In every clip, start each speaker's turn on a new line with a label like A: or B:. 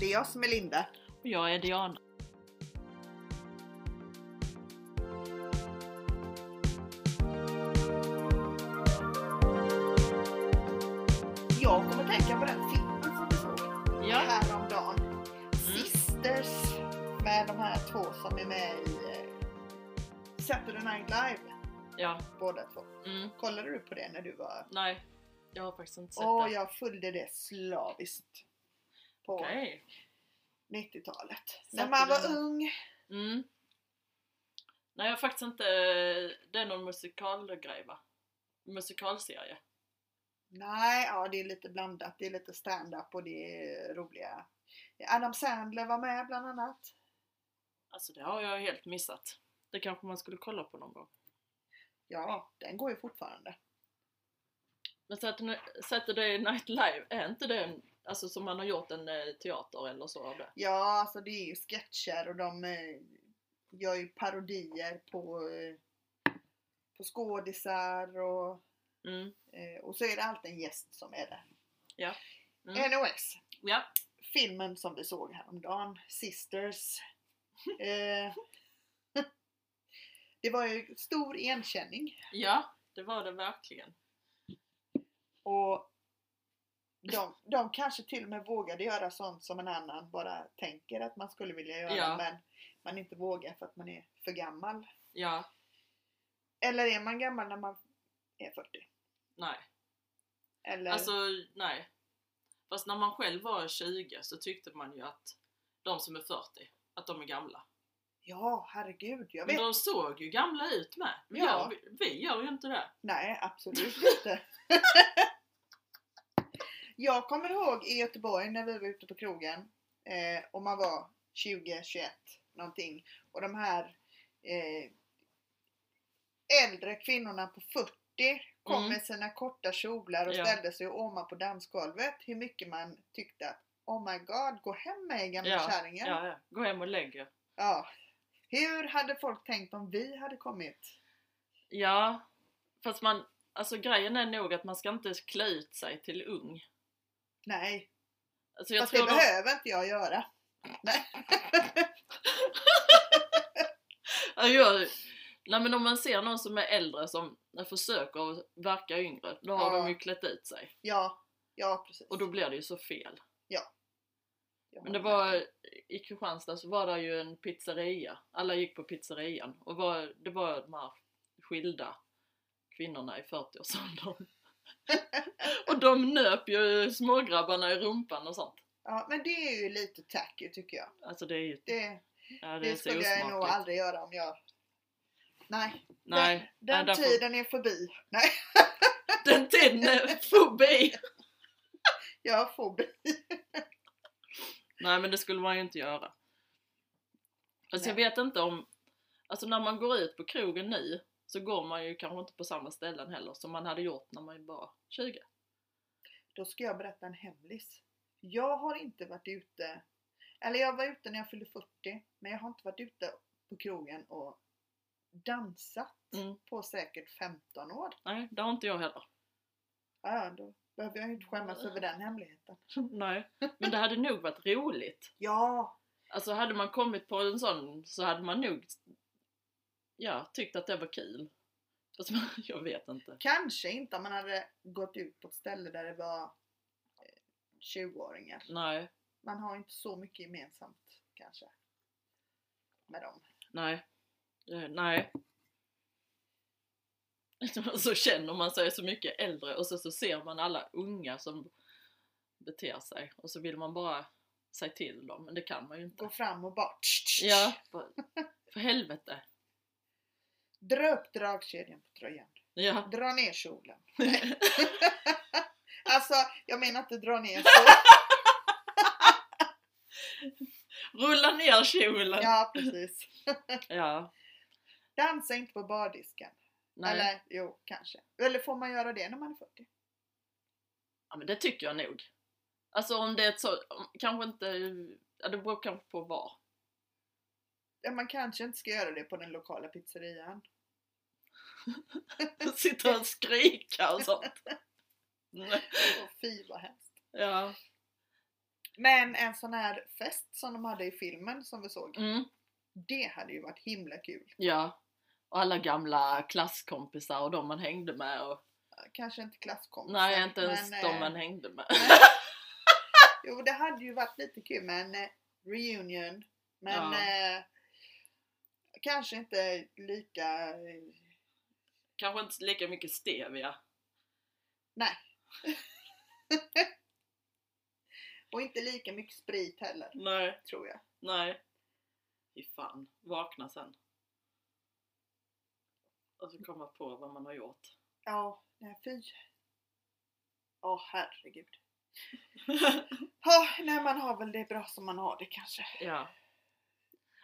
A: jag som är Linda.
B: Och jag är Diana.
A: Jag kommer tänka på den filmen som vi såg
B: Ja, Mm.
A: häromdagen. Sisters med de här två som är med i eh, Saturday Night Live.
B: ja.
A: Båda två.
B: Mm.
A: Kollade du på det när du var...
B: Nej, jag har faktiskt inte sett
A: Åh,
B: det.
A: jag följde det slaviskt. På
B: Okej.
A: 90-talet. När man
B: Saturday
A: var
B: Night.
A: ung.
B: Mm. Nej, jag har faktiskt inte... Det är någon musikalgrej va? Musikalserie.
A: Nej, ja det är lite blandat. Det är lite stand-up och det är roliga. Adam Sandler var med bland annat.
B: Alltså det har jag helt missat. Det kanske man skulle kolla på någon gång.
A: Ja, den går ju fortfarande.
B: Men Saturday- Saturday Night Live, är inte det en, alltså som man har gjort en eh, teater eller så av det?
A: Ja, alltså det är ju sketcher och de eh, gör ju parodier på, eh, på skådisar och,
B: Mm.
A: eh, och så är det alltid en gäst som är där.
B: Ja. Mm.
A: Anyways,
B: Ja.
A: filmen som vi såg häromdagen, Sisters. eh, det var ju stor igenkänning
B: Ja, det var det verkligen.
A: och de, de kanske till och med vågade göra sånt som en annan bara tänker att man skulle vilja göra
B: Ja.
A: men man inte vågar för att man är för gammal.
B: Ja,
A: Eller är man gammal när man är 40?
B: nej.
A: Eller,
B: Alltså, nej. Fast när man själv var 20 så tyckte man ju att de som är 40, att de är gamla.
A: ja, herregud, jag
B: Men
A: vet.
B: de såg ju gamla ut med. Men
A: Ja.
B: ja. jag, vi gör ju inte det.
A: Nej, absolut inte. jag kommer ihåg i Göteborg när vi var ute på krogen eh, och man var 20, 21 någonting och de här eh, äldre kvinnorna på 40 kom
B: Mm.
A: med sina korta kjolar och
B: Ja.
A: ställde sig och åmade på dansgolvet hur mycket man tyckte att Oh my god, gå hem med er gamla
B: Ja,
A: kärringen.
B: Ja, ja. Gå hem och lägg er.
A: Ja. Hur hade folk tänkt om vi hade kommit?
B: Ja, fast man, alltså grejen är nog att man ska inte klä ut sig till ung.
A: Nej,
B: Alltså jag
A: fast det
B: tror de,
A: behöver inte jag göra.
B: Ja, jag, nej men om man ser någon som är äldre som försöker att verka yngre, då har
A: Ja.
B: de ju klätt ut sig.
A: Ja, ja precis.
B: Och då blir det ju så fel.
A: Jag
B: Men det
A: håller med.
B: var, i Kristianstad så var det ju en pizzeria. Alla gick på pizzerian. Och var, det var de här skilda kvinnorna i 40-årsåldern. och de nöp ju smågrabbarna i rumpan och sånt.
A: Ja, men det är ju lite tacky tycker jag.
B: Alltså det är ju,
A: Det,
B: ja, det,
A: det,
B: är så
A: skulle jag nog
B: osmakligt.
A: aldrig göra om jag... Nej,
B: Nej,
A: den
B: nej, därför-
A: tiden är förbi. Nej,
B: den tiden är förbi!
A: jag har fobi.
B: Nej men det skulle man ju inte göra. Alltså jag
A: Nej.
B: vet inte om... Alltså när man går ut på krogen nu så går man ju kanske inte på samma ställen heller som man hade gjort när man var 20.
A: Då ska jag berätta en hemlis. Jag har inte varit ute, eller jag var ute när jag fyllde 40, men jag har inte varit ute på krogen och dansat
B: Mm.
A: på säkert 15 år.
B: Nej, det har inte jag heller.
A: Ja, ja, då behöver jag ju inte skämmas över den hemligheten.
B: Nej. Men det hade nog varit roligt.
A: Ja,
B: Alltså hade man kommit på en sån så hade man nog ja, tyckt att det var kul. Fast man, jag vet inte.
A: kanske inte om man hade gått ut på ett ställe där det var eh, 20-åringar.
B: Nej,
A: Man har inte så mycket gemensamt kanske. Med dem.
B: nej, eh, nej. Så känner man sig så mycket äldre och så, så ser man alla unga som beter sig och så vill man bara säga till dem, men det kan man ju inte.
A: Gå fram och bara
B: Ja, för, för helvete.
A: Dra upp dragkedjan på tröjan.
B: Ja.
A: Dra ner kjolen. Alltså, jag menar inte dra ner så.
B: Rulla ner kjolen!
A: Ja, precis.
B: Ja.
A: Dansa inte på bardisken.
B: Nej.
A: Eller jo, kanske. Eller får man göra det när man är 40?
B: Ja men det tycker jag nog. Alltså om det är ett så, om- kanske inte, ja, det beror kanske på var.
A: Ja, Man kanske inte ska göra det på den lokala pizzerian.
B: Sitta och skrika och sånt. Nej.
A: Åh, Fy vad hemskt.
B: ja.
A: Men en sån här fest som de hade i filmen som vi såg.
B: Mm.
A: Det hade ju varit himla kul.
B: Ja. Och alla gamla klasskompisar och de man hängde med och...
A: Kanske inte klasskompisar.
B: Nej, inte ens
A: men,
B: de
A: eh,
B: man hängde med.
A: men- Jo, det hade ju varit lite kul med en eh, reunion. Men eh, kanske inte lika... eh,
B: Kanske inte lika mycket stevia.
A: Och inte lika mycket sprit heller,
B: Nej,
A: tror jag.
B: nej. Fy fan, vakna sen. Och så komma på vad man har gjort.
A: Ja, nej fy. Ja, herregud. Ja, nej man har väl det bra som man har det kanske.
B: ja.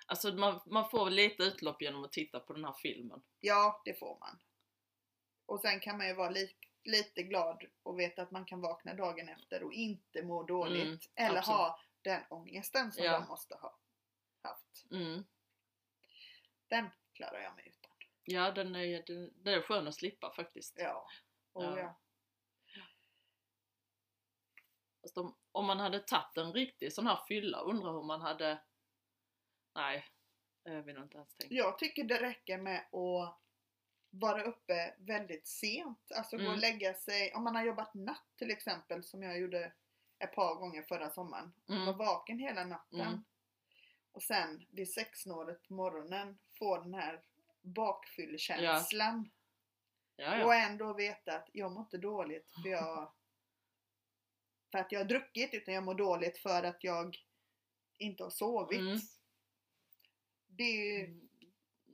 B: Alltså man, man får väl lite utlopp genom att titta på den här filmen.
A: Ja, det får man. Och sen kan man ju vara li- lite glad och veta att man kan vakna dagen efter och inte må dåligt.
B: Mm,
A: eller
B: absolut.
A: ha den ångesten som
B: Ja.
A: de måste ha haft.
B: Mm.
A: Den klarar jag mig utan.
B: Ja, den är, den, den är skön att slippa faktiskt.
A: Ja. Och
B: Ja.
A: ja.
B: Fast om, om man hade tagit en riktig sån här fylla, undrar hur man hade... Nej, jag vill inte ens tänka.
A: Jag tycker det räcker med att vara uppe väldigt sent. Alltså gå och
B: Mm.
A: lägga sig. Om man har jobbat natt till exempel som jag gjorde ett par gånger förra sommaren.
B: Mm.
A: Var vaken hela natten.
B: Mm.
A: Och sen vid sexsnåret på morgonen få den här bakfyllekänslan.
B: Ja, ja.
A: Och ändå veta att jag mår inte dåligt för jag för att jag har druckit utan jag mår dåligt för att jag inte har sovit.
B: Mm.
A: Det är ju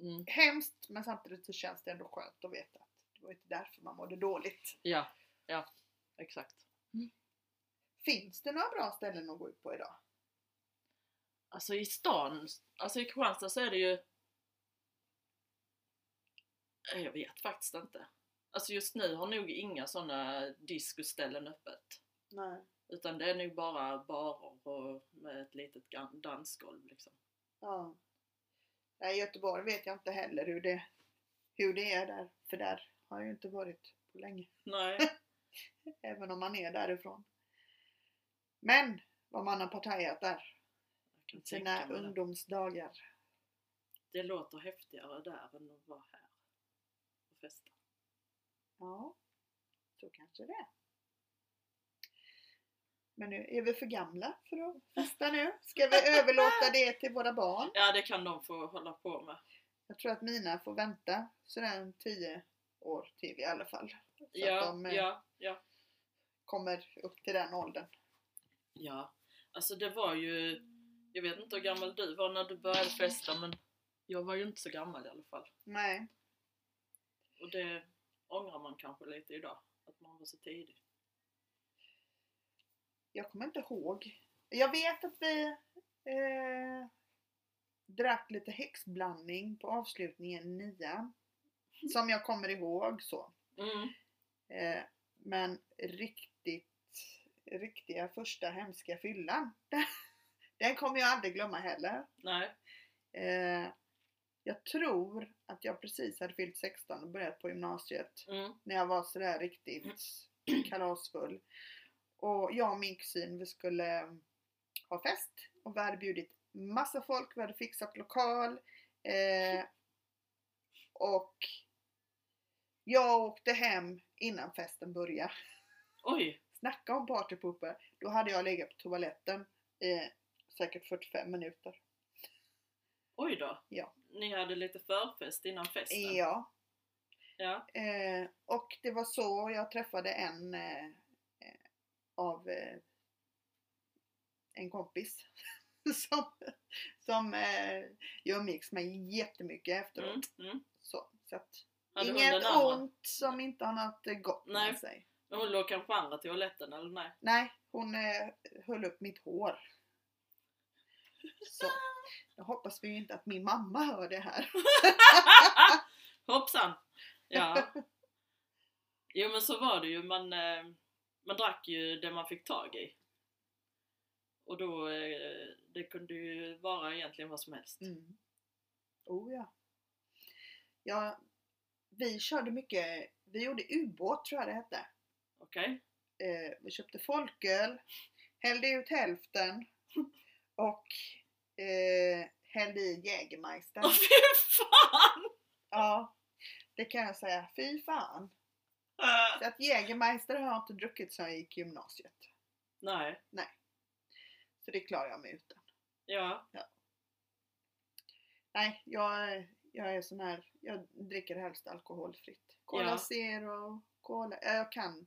B: Mm.
A: hemskt men samtidigt så känns det ändå skönt att veta att det var inte därför man mådde dåligt.
B: Ja, ja, exakt.
A: Finns det några bra ställen att gå ut på idag?
B: Alltså i stan, alltså i Kristianstad så är det ju... Nej, Jag vet faktiskt inte. Alltså just nu har nog inga såna discoställen öppet.
A: Nej.
B: Utan det är nog bara barer och med ett litet gan- dansgolv liksom.
A: Ja. Nej, i Göteborg vet jag inte heller hur det, hur det är där. För där har jag ju inte varit på länge.
B: Nej.
A: Även om man är därifrån. Men vad man har partajat där.
B: Jag kan
A: Sina
B: tänka mig det.
A: ungdomsdagar.
B: det låter häftigare där än att vara här och festa.
A: Ja, så kanske det är. Men nu är vi för gamla för att festa nu. Ska vi överlåta det till våra barn?
B: Ja, det kan de få hålla på med.
A: Jag tror att mina får vänta sådär en 10 år till i alla fall. Så att
B: Ja,
A: de eh,
B: ja, ja.
A: kommer upp till den åldern.
B: Ja, alltså det var ju... Jag vet inte hur gammal du var när du började festa men jag var ju inte så gammal i alla fall.
A: Nej,
B: Och det ångrar man kanske lite idag, att man var så tidig.
A: jag kommer inte ihåg. Jag vet att vi eh, drack lite häxblandning på avslutningen i nian. Som jag kommer ihåg så.
B: Mm.
A: Eh, men riktigt, riktiga första hemska fyllan. Den kommer jag aldrig glömma heller.
B: Nej.
A: Eh, jag tror att jag precis hade fyllt 16 och börjat på gymnasiet.
B: Mm.
A: när jag var sådär riktigt kalasfull. Och jag och min kusin vi skulle eh, ha fest och vi hade bjudit massa folk, vi hade fixat lokal eh, och jag åkte hem innan festen började.
B: Oj!
A: Snacka om partypooper! Då hade jag legat på toaletten i säkert 45 minuter.
B: Oj då!
A: Ja.
B: Ni hade lite förfest innan festen?
A: Ja,
B: Ja.
A: Eh, och det var så jag träffade en eh, eh, av eh, en kompis som, som eh, jag umgicks med jättemycket efteråt.
B: Mm. Mm.
A: Så, så att,
B: Hade hon
A: inget
B: den andra?
A: ont som inte har något eh, gott
B: Nej.
A: med sig.
B: Men hon låg kanske på andra toaletten eller nej?
A: Nej, hon eh, höll upp mitt hår. Så. Jag hoppas vi inte att min mamma hör det här.
B: Hoppsan! Ja. Jo men så var det ju, man, eh, man drack ju det man fick tag i. Och då, eh, det kunde ju vara egentligen vad som helst.
A: Mm. Oh ja. ja. Vi körde mycket, vi gjorde ubåt tror jag det hette.
B: Okej?
A: Eh, vi köpte folköl, Hällde ut hälften och eh, hällde i Jägermeister.
B: Åh fy fan!
A: Ja, det kan jag säga. Fy fan! Så att Jägermeister har jag inte druckit sedan jag gick i gymnasiet.
B: Nej,
A: Så det klarar jag mig utan.
B: ja.
A: Nej, jag, jag är sån här. Jag dricker helst alkoholfritt. Cola
B: Ja.
A: Zero, Cola. ja, Jag kan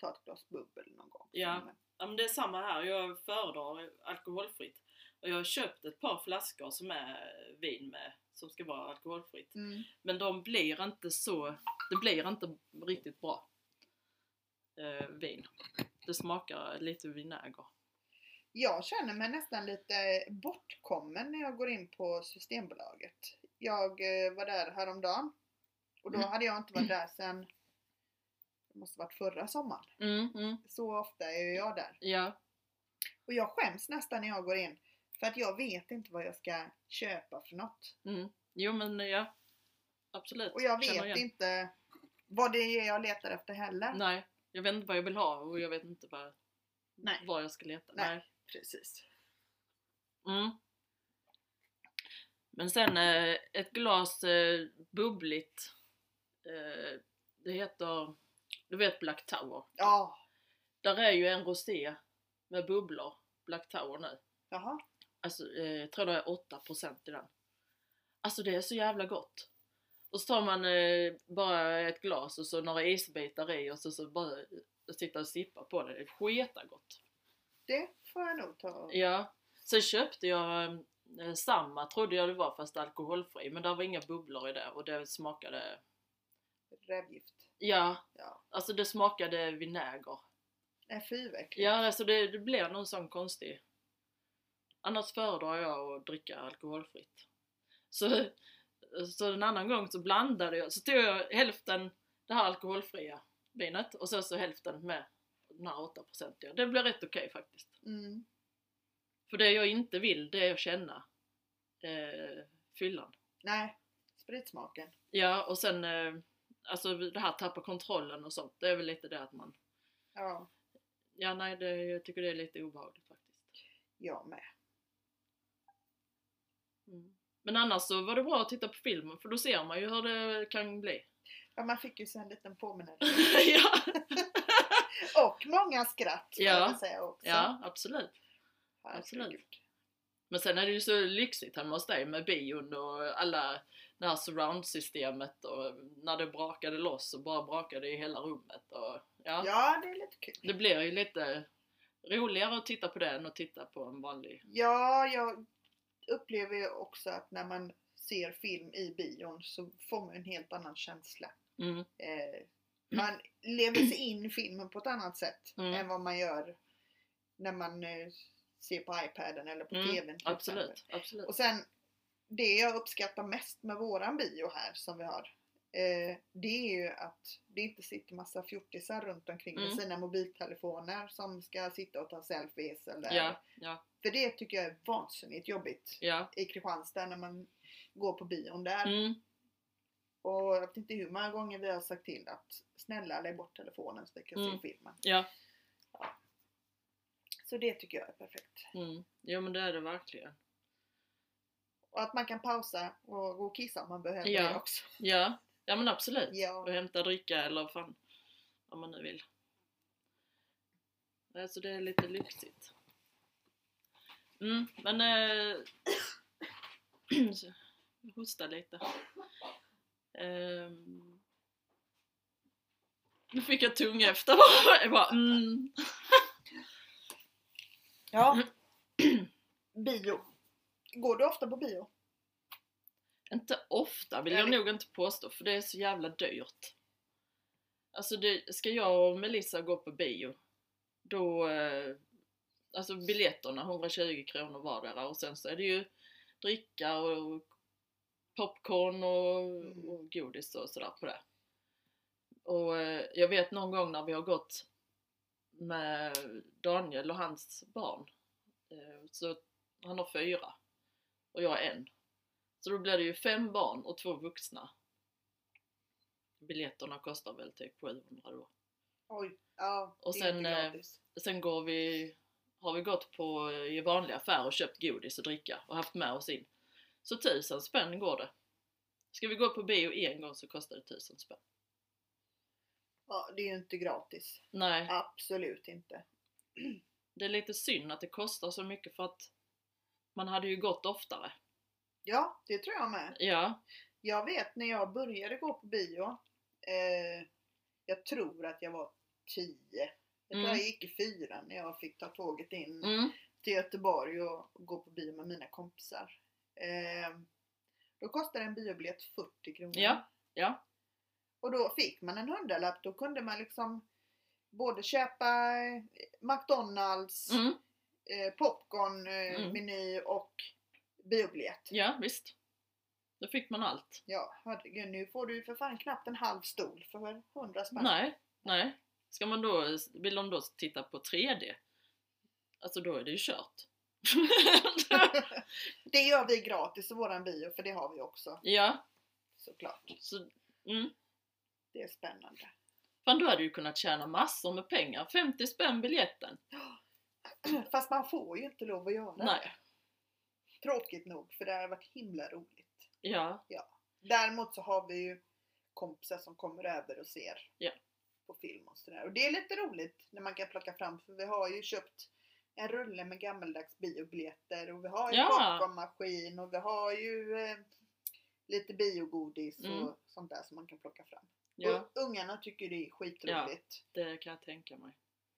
A: ta ett glas bubbel någon gång.
B: Ja.
A: Men-
B: ja men det är samma här. Jag föredrar alkoholfritt. Och jag har köpt ett par flaskor som är vin med, som ska vara alkoholfritt.
A: Mm.
B: Men de blir inte så, det blir inte riktigt bra eh, vin. Det smakar lite vinäger.
A: Jag känner mig nästan lite bortkommen när jag går in på Systembolaget. Jag eh, var där häromdagen och då
B: Mm.
A: hade jag inte varit där sedan det måste varit förra sommaren.
B: Mm, mm,
A: Så ofta är ju jag där.
B: ja.
A: Och jag skäms nästan när jag går in. För att jag vet inte vad jag ska köpa för något.
B: Mm. Jo men ja, absolut.
A: Och jag
B: Känner
A: vet
B: igen.
A: inte vad det är jag letar efter heller.
B: Nej, jag vet inte vad jag vill ha och jag vet inte vad,
A: Nej.
B: vad jag ska leta.
A: Nej. Precis.
B: Mm. Men sen eh, ett glas eh, bubbligt. Eh, det heter, du vet Black Tower?
A: Ja,
B: Där är ju en rosé med bubblor, Black Tower nu.
A: jaha.
B: Alltså eh, jag tror det är 8% i den. Alltså det är så jävla gott. Och så tar man eh, bara ett glas och så några isbitar i och så, så bara eh, sitta och sippa på det. Det är sketagott.
A: Det får jag nog ta. och-
B: Ja. Sen köpte jag eh, samma trodde jag det var fast alkoholfri men där var inga bubblor i det och det smakade...
A: Rävgift.
B: Ja.
A: Ja.
B: Alltså det smakade vinäger.
A: Nej fy vad äckligt.
B: Ja alltså det, det blev någon sån konstig... Annars föredrar jag att dricka alkoholfritt. Så, så en annan gång så blandade jag, så tog jag hälften det här alkoholfria vinet och sen så hälften med den här 8% Det blev rätt okej faktiskt.
A: Mm.
B: För det jag inte vill, det är att känna eh, fyllan.
A: Nej, spritsmaken.
B: Ja, och sen eh, alltså det här tappa kontrollen och sånt. Det är väl lite det att man...
A: Ja,
B: Ja, nej, det, jag tycker det är lite obehagligt faktiskt.
A: jag med.
B: Men annars så var det bra att titta på filmen för då ser man ju hur det kan bli.
A: Ja, man fick ju så en liten påminnelse.
B: ja,
A: Och många skratt får
B: Ja.
A: jag säga också.
B: ja, absolut.
A: Herregud.
B: absolut. Men sen är det ju så lyxigt hemma hos dig med bion och alla det här surround-systemet och när det brakade loss och bara brakade i hela rummet och ja.
A: Ja, det är lite kul.
B: Det blir ju lite roligare att titta på det än att titta på en vanlig...
A: Ja, jag upplever ju också att när man ser film i bion så får man en helt annan känsla.
B: Mm.
A: Eh, man lever sig in i filmen på ett annat sätt
B: Mm.
A: än vad man gör när man eh, ser på iPaden eller på
B: Mm,
A: TVn. till exempel.
B: Absolut, absolut.
A: Och sen, det jag uppskattar mest med våran bio här som vi har, eh, det är ju att det inte sitter massa fjortisar runt omkring
B: Mm.
A: med sina mobiltelefoner som ska sitta och ta selfies eller
B: Ja, ja,
A: för det tycker jag är vansinnigt jobbigt
B: ja.
A: i Kristianstad när man går på bion där.
B: Mm.
A: Och jag vet inte hur många gånger vi har sagt till att snälla lägg bort telefonen så vi kan
B: Mm.
A: se filmen.
B: Ja.
A: Så det tycker jag är perfekt.
B: Mm. Jo men det är det verkligen.
A: Och att man kan pausa och gå och kissa om man behöver
B: Ja.
A: det också.
B: Ja, ja men absolut.
A: Ja.
B: Och hämta dricka eller fan vad man nu vill. Alltså det är lite lyxigt. Mm, men... Eh, så, jag hostar lite. Ehm, nu fick jag tunga efter bara. Jag bara mm.
A: ja. bio. Går du ofta på bio?
B: Inte ofta vill jag nog inte påstå för det är så jävla dyrt. Alltså det, ska jag och Melissa gå på bio då, eh, alltså biljetterna 120 kronor vardera och sen så är det ju dricka och popcorn och,
A: Mm.
B: och godis och sådär på det. Och eh, jag vet någon gång när vi har gått med Daniel och hans barn, eh, så han har fyra och jag är en. Så då blir det ju fem barn och två vuxna. Biljetterna kostar väl typ 700 då.
A: Oj. Ja,
B: Och
A: det är
B: sen,
A: inte
B: eh,
A: gratis.
B: Sen går vi har vi gått på eh, i vanliga affärer och köpt godis och dricka och haft med oss in. Så tusen spänn går det. Ska vi gå på bio en gång så kostar det tusen spänn.
A: Ja, det är ju inte gratis.
B: Nej,
A: Absolut inte.
B: det är lite synd att det kostar så mycket för att man hade ju gått oftare.
A: Ja, det tror jag med.
B: Ja,
A: Jag vet när jag började gå på bio. Eh, jag tror att jag var 10. Jag tror
B: Mm.
A: jag gick i fyran när jag fick ta tåget in
B: mm,
A: till Göteborg och gå på bio med mina kompisar. Eh, då kostade en biobiljett 40 kronor.
B: Ja, ja.
A: Och då fick man en hundralapp. Då kunde man liksom både köpa eh, McDonalds,
B: mm,
A: eh, popcornmeny eh,
B: Mm.
A: meny och biobiljett.
B: ja visst. Då fick man allt.
A: Ja, herregud, nu får du ju för fan knappt en halv stol för 100 spänn.
B: Nej, nej. Ska man då, vill de då titta på 3D? Alltså då är det ju kört.
A: Det gör vi gratis i våran bio, för det har vi också
B: ja,
A: såklart.
B: så, mm.
A: Det är spännande.
B: Fan, du hade ju kunnat tjäna massor med pengar. 50 spänn biljetten.
A: Fast man får ju inte lov att göra det.
B: Nej.
A: Tråkigt nog, för det har varit himla roligt.
B: Ja,
A: Däremot så har vi ju kompisar som kommer över och ser
B: Ja.
A: på film och sådär. Och det är lite roligt när man kan plocka fram, för vi har ju köpt en rulle med gammaldags biobiljetter och vi har ju
B: Ja.
A: popcornmaskin och vi har ju eh, lite biogodis
B: Mm.
A: och sånt där som man kan plocka fram.
B: ja,
A: Och ungarna tycker det är skitroligt
B: det kan jag tänka mig.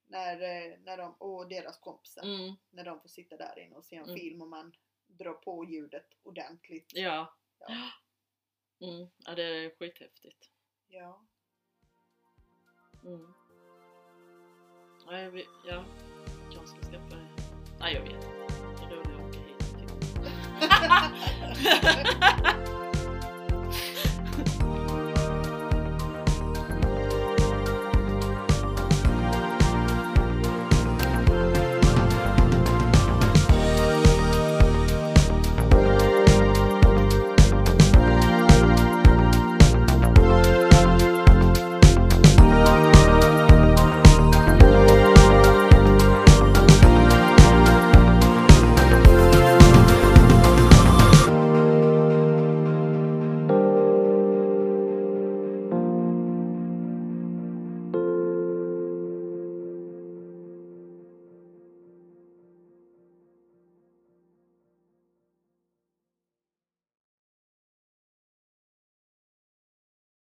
A: när, eh, när de, och deras kompisar
B: Mm,
A: när de får sitta där inne och se en
B: Mm.
A: film och man drar på ljudet ordentligt.
B: ja.
A: Ja.
B: Mm, ja, det är skithäftigt.
A: Ja.
B: Mm. Ja, jag vet, ja, kanske ska skaffa... Nej, jag vet inte. Det är roligt att åka hit. till-